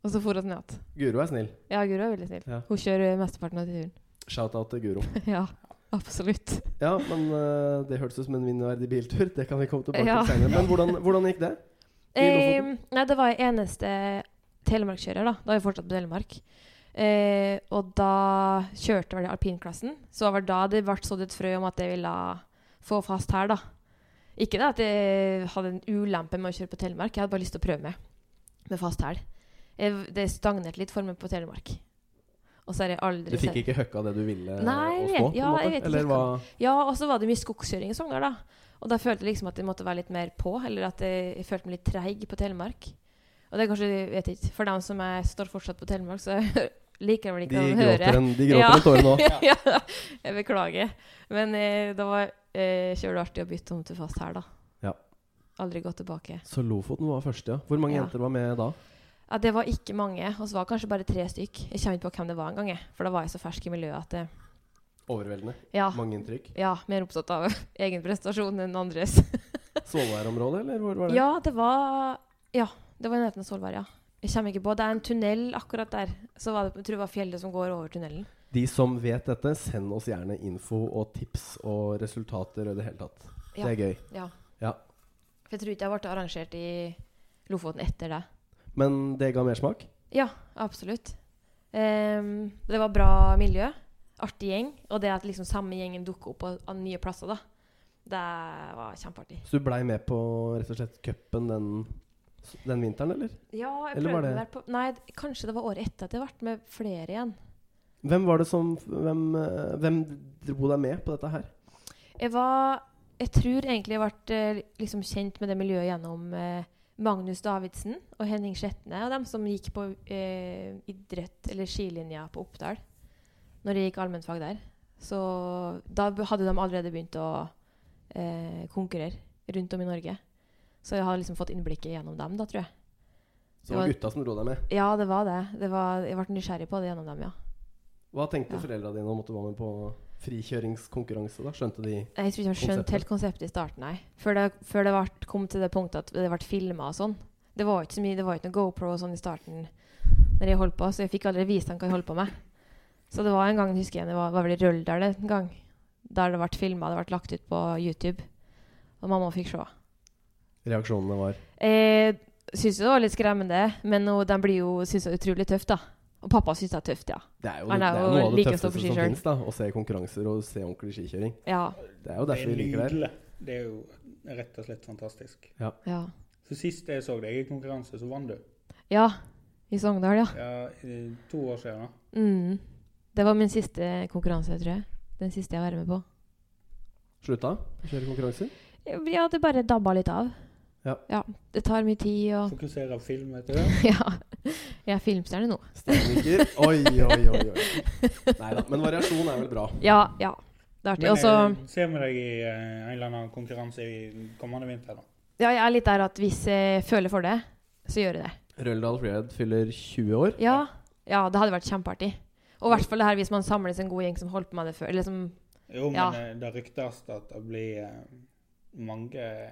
Og så for oss ned igjen.
Guro er snill.
Ja, Guro er veldig snill.
Ja.
Hun kjører mesteparten av turen.
Shout-out til Guro.
ja, absolutt.
Ja, men eh, det hørtes ut som en minneverdig biltur. Det kan vi komme tilbake
Ja.
til senere. Men hvordan, hvordan gikk det? I
Eh,
Lofoten?
nei, det var jeg eneste telemarkkjører, da. Da var jeg fortsatt på Telemark. Eh, og da kjørte vel jeg alpinklassen. Så var det da det ble sådd et frø om at jeg ville få fast her, da. Ikke det at jeg hadde en ulempe med å kjøre på Telemark, jeg hadde bare lyst til å prøve meg med fast hæl. Jeg- Det stagnerte litt for meg på Telemark. Og så har jeg aldri
Du fikk ikke høkka det du ville eh,
Nei,
å
jeg vet-
få? på en
ja, jeg
måte?
vet ikke
Eller hva?
ja, og så var det mye skogskjøring i Sogndal, da. Og da følte jeg liksom at jeg måtte være litt mer på, eller at jeg, jeg følte meg litt treig på Telemark. Og det er kanskje, jeg vet ikke, for dem som er, står fortsatt på Telemark, så liker de vel ikke
De
å høre.
gråter en, de gråter en tåre nå.
ja, jeg beklager. Men eh, det var eh, kjølig artig å bytte om til fast her, da.
Ja.
Aldri gått tilbake.
Så Lofoten var første, ja. Hvor mange
Ja.
jenter var med da?
Ja, det var ikke mange, og så var det kanskje bare tre stykk. Jeg kommer ikke på hvem det var engang, jeg, for da var jeg så fersk i miljøet at eh,
Overveldende.
ja,
Mange inntrykk.
ja, mer opptatt av egen prestasjon enn andres.
Svolvær-området, eller hvor var det?
Ja, det var Ja, det var i nærheten av Svolvær, ja. Jeg kommer ikke på. Det er en tunnel akkurat der. Så var det, jeg tror det var fjellet som går over tunnelen.
De som vet dette, send oss gjerne info og tips og resultater og det hele tatt.
Ja.
Det er gøy.
Ja.
Ja.
For jeg tror ikke jeg ble arrangert i Lofoten etter det.
Men det ga mersmak?
Ja, absolutt. Ehm, det var bra miljø. Artig gjeng. Og det at liksom samme gjengen dukker opp av, av nye plasser, da. Det var kjempeartig.
Så du blei med på rett og slett cupen den, den vinteren, eller?
Ja, jeg
Eller var
prøvde
det-
meg på Nei, kanskje det var året etter at jeg ble med flere igjen.
Hvem var det som Hvem, eh, hvem dro deg med på dette her?
Jeg var Jeg tror egentlig jeg ble eh, liksom kjent med det miljøet gjennom eh, Magnus Davidsen og Henning Skjetne og dem som gikk på eh, idrett eller skilinja på Oppdal når jeg gikk allmennfag der. Så da be- hadde de allerede begynt å eh, konkurrere rundt om i Norge. Så jeg har liksom fått innblikket gjennom dem, da, tror jeg.
Så det var
Det
gutta som dro deg med.
Ja, det var det. det var, jeg ble nysgjerrig på det gjennom dem, ja.
Hva tenkte
Ja.
foreldra dine om at du var med på frikjøringskonkurranse? da? Skjønte de
Nei, Jeg tror ikke han skjønte
Konseptet?
helt konseptet i starten, nei. Før det, før det vart, kom til det punktet at det ble filma og sånn. Det var ikke så mye, det var ikke noe GoPro og sånn i starten, når jeg holdt på, så jeg fikk aldri vist han hva jeg holdt på med. Så det var en gang, husker jeg, det var, var vel i Røldal en gang, der det ble filma, det ble lagt ut på YouTube, og mamma fikk se.
reaksjonene var?
Eh, syns jo det var litt skremmende, men nå, de blir jo, syns det er utrolig tøft, da. Og pappa syns det er tøft, ja.
Det er jo,
Han
det
er
er
jo
noe av det
like
tøffeste
stor på ski
som
selv.
finnes, da. Å se konkurranser og se ordentlig skikjøring.
Ja.
Det er jo derfor vi liker det. her.
Det er jo rett og slett fantastisk.
Ja,
Så sist jeg så deg i konkurranse, så vant du.
ja i Sogndal, ja.
Ja, i to år siden. da.
Mm. Det var min siste konkurranse, tror jeg. Den siste jeg var med på.
Slutta å kjøre konkurranser?
Ja, det bare dabba litt av.
Ja.
Det tar mye tid, og
Fokusere film etter det.
Ja. Jeg er filmstjerne nå.
Steinviker? Oi, oi, oi. oi. Nei da. Men variasjon er vel bra.
Ja, ja. Det er artig.
Men
Og så
jeg ser vi deg i eh, en eller annen konkurranse i kommende vinter, da.
Ja, jeg er litt der at hvis jeg føler for det, så gjør jeg det.
Røldal Freehead fyller 20 år.
Ja, ja det hadde vært kjempeartig. Og i hvert fall det her hvis man samles en god gjeng som holdt på med det før. Eller som
Jo, men
Ja.
eh, det ryktes at det blir eh, mange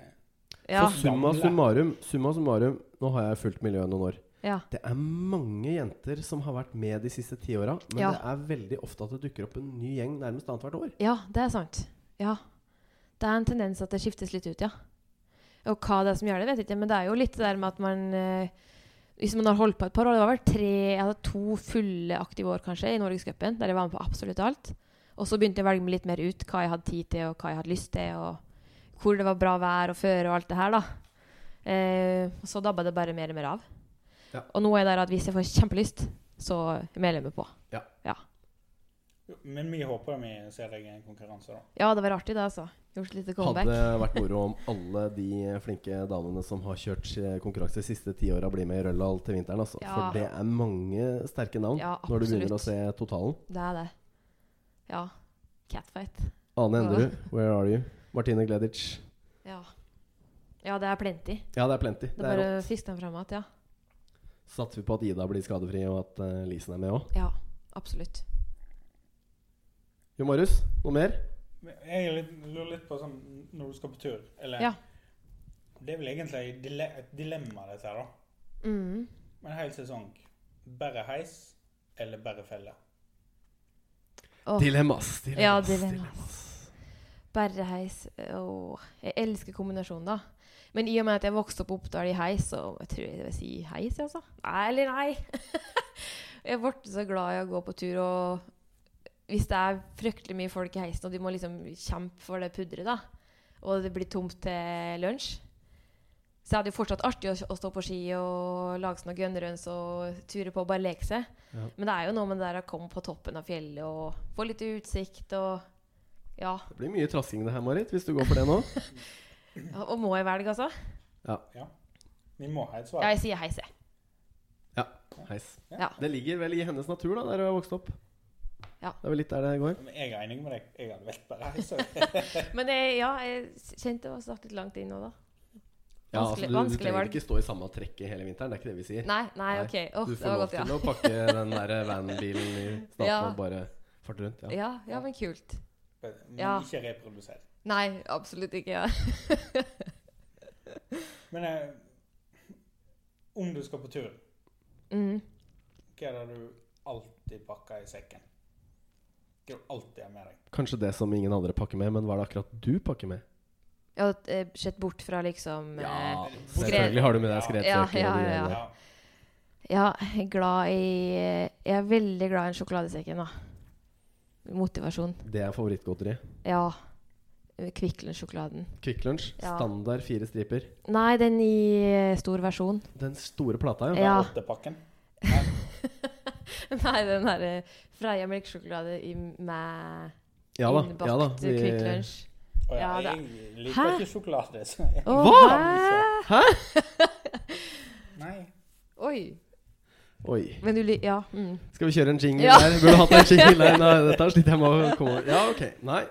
Ja.
Så summa summarum, summa summarum, nå har jeg fulgt miljøet noen år.
Ja.
Det er mange jenter som har vært med de siste ti åra, men
Ja.
det er veldig ofte at det dukker opp en ny gjeng nærmest annethvert år.
ja, det er sant. Ja. Det er en tendens at det skiftes litt ut, ja. Og hva det er som gjør det, vet jeg ikke, men det er jo litt det der med at man eh, Hvis man har holdt på et par år Det var vel tre Jeg hadde to fulle aktive år, kanskje, i Norgescupen, der jeg var med på absolutt alt. Og så begynte jeg å velge meg litt mer ut hva jeg hadde tid til, og hva jeg hadde lyst til, og hvor det var bra vær og føre og alt det her, da. Eh, og så dabba det bare mer og mer av.
Ja.
Og nå er jeg der at hvis jeg får kjempelyst, så melder jeg meg på.
Men vi håper vi ser deg i en konkurranse, da.
Ja, det var artig, det, altså. Gjort et lite comeback.
Hadde vært moro om alle de flinke damene som har kjørt eh, konkurranse de siste ti åra, blir med i Røldal til vinteren. Altså.
Ja.
For det er mange sterke navn
Ja,
sånn, når du begynner å se
absolutt.
totalen.
Det er det. Ja. Catfight.
Ane
Ja.
Enderud, where are you? Martine Gledic.
Ja. Ja, det er plenty.
Ja, det er plenty.
Det
Det
er
er
bare
rått.
å fiske dem fram igjen. Ja.
Satser vi på at Ida blir skadefri, og at eh, Lisen er med òg.
ja. Absolutt.
Jo Marius, noe mer?
Jeg er litt, lurer litt på sånn når du skal på tur, eller
Ja.
Det er vel egentlig dile et dilemma, dette her, da.
Mm.
En hel sesong. Bare heis eller bare felle?
Åh,
Dilemmas. dilemmas
Ja, dilemmas.
dilemmas.
bare heis. Åh. Jeg elsker kombinasjonen, da. Men i og med at jeg vokste opp på Oppdal i heis, så jeg tror jeg jeg vil si heis, jeg, altså. Nei, eller nei. jeg ble så glad i å gå på tur, og hvis det er fryktelig mye folk i heisen, og de må liksom kjempe for det pudderet, da, og det blir tomt til lunsj så er det jo fortsatt artig å, å stå på ski og lage sånne gunruns og ture på og bare leke seg.
Ja.
Men det er jo noe med det der å komme på toppen av fjellet og få litt utsikt og Ja.
Det blir mye trasking det her, Marit, hvis du går for det nå.
Og må jeg velge, altså?
Vi må ha et
Ja,
svar.
jeg sier heis, jeg.
Heis.
Ja.
Det ligger vel i hennes natur, da, der hun er vokst opp.
Ja.
Det er vel litt der det går.
Men Jeg er enig med deg. Jeg hadde valgt bare heis. altså. jeg.
Men jeg, ja, jeg kjente det var snakket langt inn nå, da.
Ja, altså, du,
Vanskelig-
du
vanskelig
trenger
valg.
ikke stå i samme trekket hele vinteren, det er ikke det vi sier.
Nei, nei,
Nei,
OK. Åh,
du
det
får
var
lov
godt,
til
ja.
å pakke den der eh, van-bilen i staten
Ja.
og bare farte rundt. Ja.
ja. Ja, men kult.
Men
Ja.
ikke reprodusert.
Nei, absolutt ikke. Ja.
Men eh, om du skal på tur,
Mm.
hva er det du alltid pakker i sekken? Hva er det du alltid har med deg?
Kanskje det som ingen andre pakker med, men hva er det akkurat du pakker med?
Jeg har eh, sett bort fra liksom eh,
Ja,
Skred-
selvfølgelig har du med deg
Ja,
skredsøker.
ja,
og de
ja,
greiene der.
Ja.
Ja, jeg er glad i eh, Jeg er veldig glad i en sjokoladesekken, da. Motivasjon.
Det er favorittgodteri.
Ja. Kvikk Lunsj-sjokoladen.
Kvikk Lunsj,
Ja.
standard fire striper.
Nei, den i eh, stor versjon.
Den store plata, ja.
Den
Ja.
åttepakken?
Nei, den derre Freia melkesjokolade i- med
Ja da.
innbakt eh,
Ja da. vi-
Kvikk Lunsj.
Å ja,
Ja, det-
jeg liker
Hæ?
ikke sjokolade. Så jeg.
Å,
Hva?
hæ?
Nei.
Oi.
Oi.
Men du li... Ja. Mm.
Skal vi kjøre en jingle
Ja.
der? Burde hatt en jingle der. Nei, dette sliter jeg med å komme over. Ja, ok. Nei.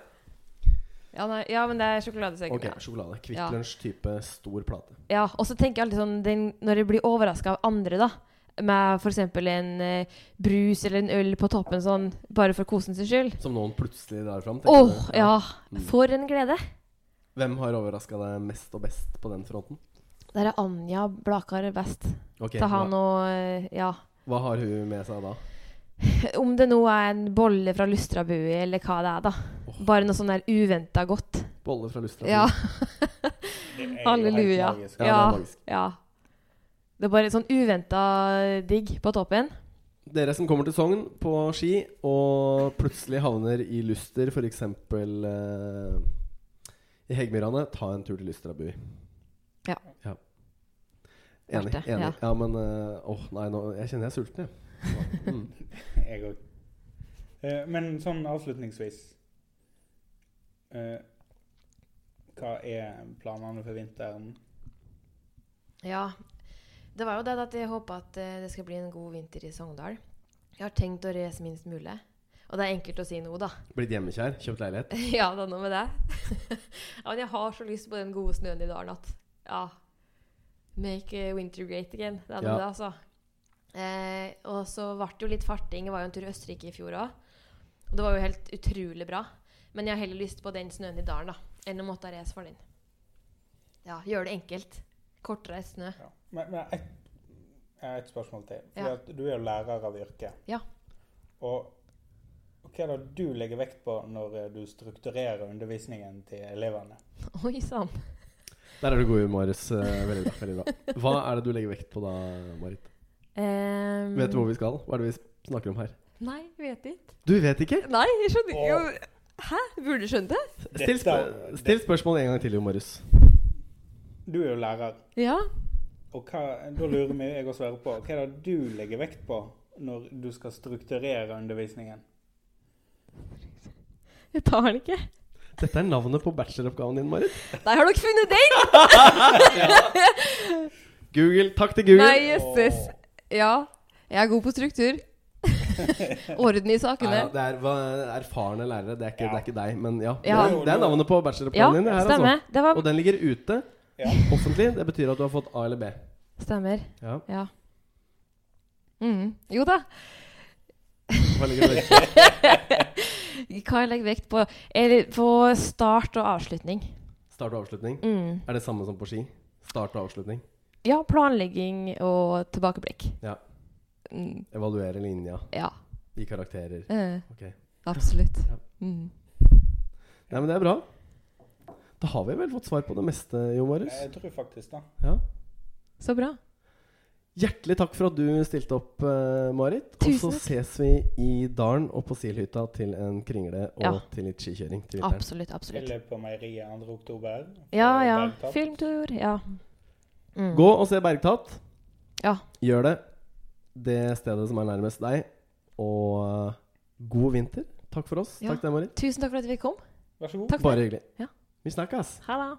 Ja, nei, ja, men det er sjokoladesekken.
Ok,
ja.
Sjokolade. Kvikk
Ja.
Lunsj-type stor plate.
Ja, og så tenker jeg alltid sånn den, Når jeg blir overraska av andre, da, med f.eks. en eh, brus eller en øl på toppen sånn, bare for kosen sin skyld
Som noen plutselig drar fram.
Åh,
tenker du?
ja.
Mm.
For en glede!
Hvem har overraska deg mest og best på den fronten?
Der er Anja Blakar best.
Ok,
Ta han
hva,
og eh, Ja.
hva har hun med seg da?
Om det nå er en bolle fra Lustrabui, eller hva det er, da.
Åh.
Bare noe sånn der uventa godt.
Bolle fra Lustra?
Ja.
Det er jo helt
Halleluja.
magisk.
Ja, det er magisk.
ja. Det er bare sånn uventa digg på toppen.
Dere som kommer til Sogn på ski og plutselig havner i Luster, f.eks. Eh, i Heggmyrane, ta en tur til Lustrabu.
Ja.
Enig.
Verdt det,
enig.
ja.
Ja. men eh, Åh, nei, nå, jeg kjenner jeg er sulten, jeg. Mm.
Jeg òg. Men sånn avslutningsvis eh, Hva er planene for vinteren?
Ja. Det var jo det at jeg håper at eh, det skal bli en god vinter i Sogndal. Jeg har tenkt å reise minst mulig. Og det er enkelt å si nå, da.
Blitt hjemmekjær, kjøpt leilighet.
ja, det er noe med det. ja, men jeg har så lyst på den gode snøen i dalen at Ja. Make eh, winter great again. Det er noe
Ja.
med det, altså. Eh, og så ble det jo litt farting. Jeg var jo en tur i Østerrike i fjor òg. Og det var jo helt utrolig bra. Men jeg har heller lyst på den snøen i dalen da, enn å måtte reise for den. Ja, gjør det enkelt. Kortreist snø.
Ja. Men, men et, Jeg har et spørsmål til.
Ja.
Fordi at du er jo lærer av yrke.
Ja.
Og hva er det du legger vekt på når eh, du strukturerer undervisningen til elevene?
Oi sann.
Der er du god i humøres. eh, Veldig bra. veldig bra Hva er det du legger vekt på da, Marit?
Um,
Vet du hvor vi skal? Hva er det vi snakker om her?
Nei, vet ikke.
Du vet ikke?
Nei, jeg skjønner ikke.
Åh.
Hæ? Burde skjønt det?
Still, sp still spørsmålet en gang til, Jo Marius.
Du er jo lærer,
Ja.
og hva, da lurer vi jeg og Sverre på hva er det du legger vekt på når du skal strukturere undervisningen?
Jeg tar den ikke.
Dette er navnet på bacheloroppgaven din, Marit.
Nei, har dere funnet den?
Google. Takk til Google.
Nei, jøsses. Ja. Jeg er god på struktur. Orden i
Nei,
sakene.
ja, det er hva- erfarne lærere. Det er ikke,
Ja.
det er ikke deg, men ja.
Ja.
Det, er, det er navnet på
Ja,
bacheloroppgaven din. Det her, altså.
stemmer. Det var
Og den ligger ute.
Ja.
Offentlig. Det betyr at du har fått A eller B.
Stemmer.
Ja.
Ja. Mm. Jo da.
Hva ligger det i?
Hva jeg legger vekt på? Eller på start og avslutning.
Start og avslutning.
Mm.
Er det samme som på ski? Start og avslutning.
Ja, planlegging og tilbakeblikk.
Ja.
Mm.
Evaluere linja.
Ja.
Gi karakterer.
Eh,
Ok.
absolutt.
Ja.
Mm.
Nei, men det er bra. Da har vi vel fått svar på det meste, Jo Marius.
Jeg tror faktisk da.
Ja.
Så bra.
Hjertelig takk for at du stilte opp, eh, Marit. Og så
Tusen takk.
ses vi i dalen og på Silhytta til en kringle og
Ja.
til litt skikjøring. til vinteren.
Absolutt, absolutt.
Eller på meieriet 2. oktober.
Ja,
eh,
ja.
Bergtatt.
Filmtur. Ja. Mm.
Gå og se Bergtatt.
Ja.
Gjør det. Det stedet som er nærmest deg. Og eh, god vinter. Takk for oss.
Ja.
Takk til deg, Marit.
Tusen takk for at vi kom.
Vær så god.
Takk for
Bare hyggelig.
Ja.
Vi snakkes.
Ha det.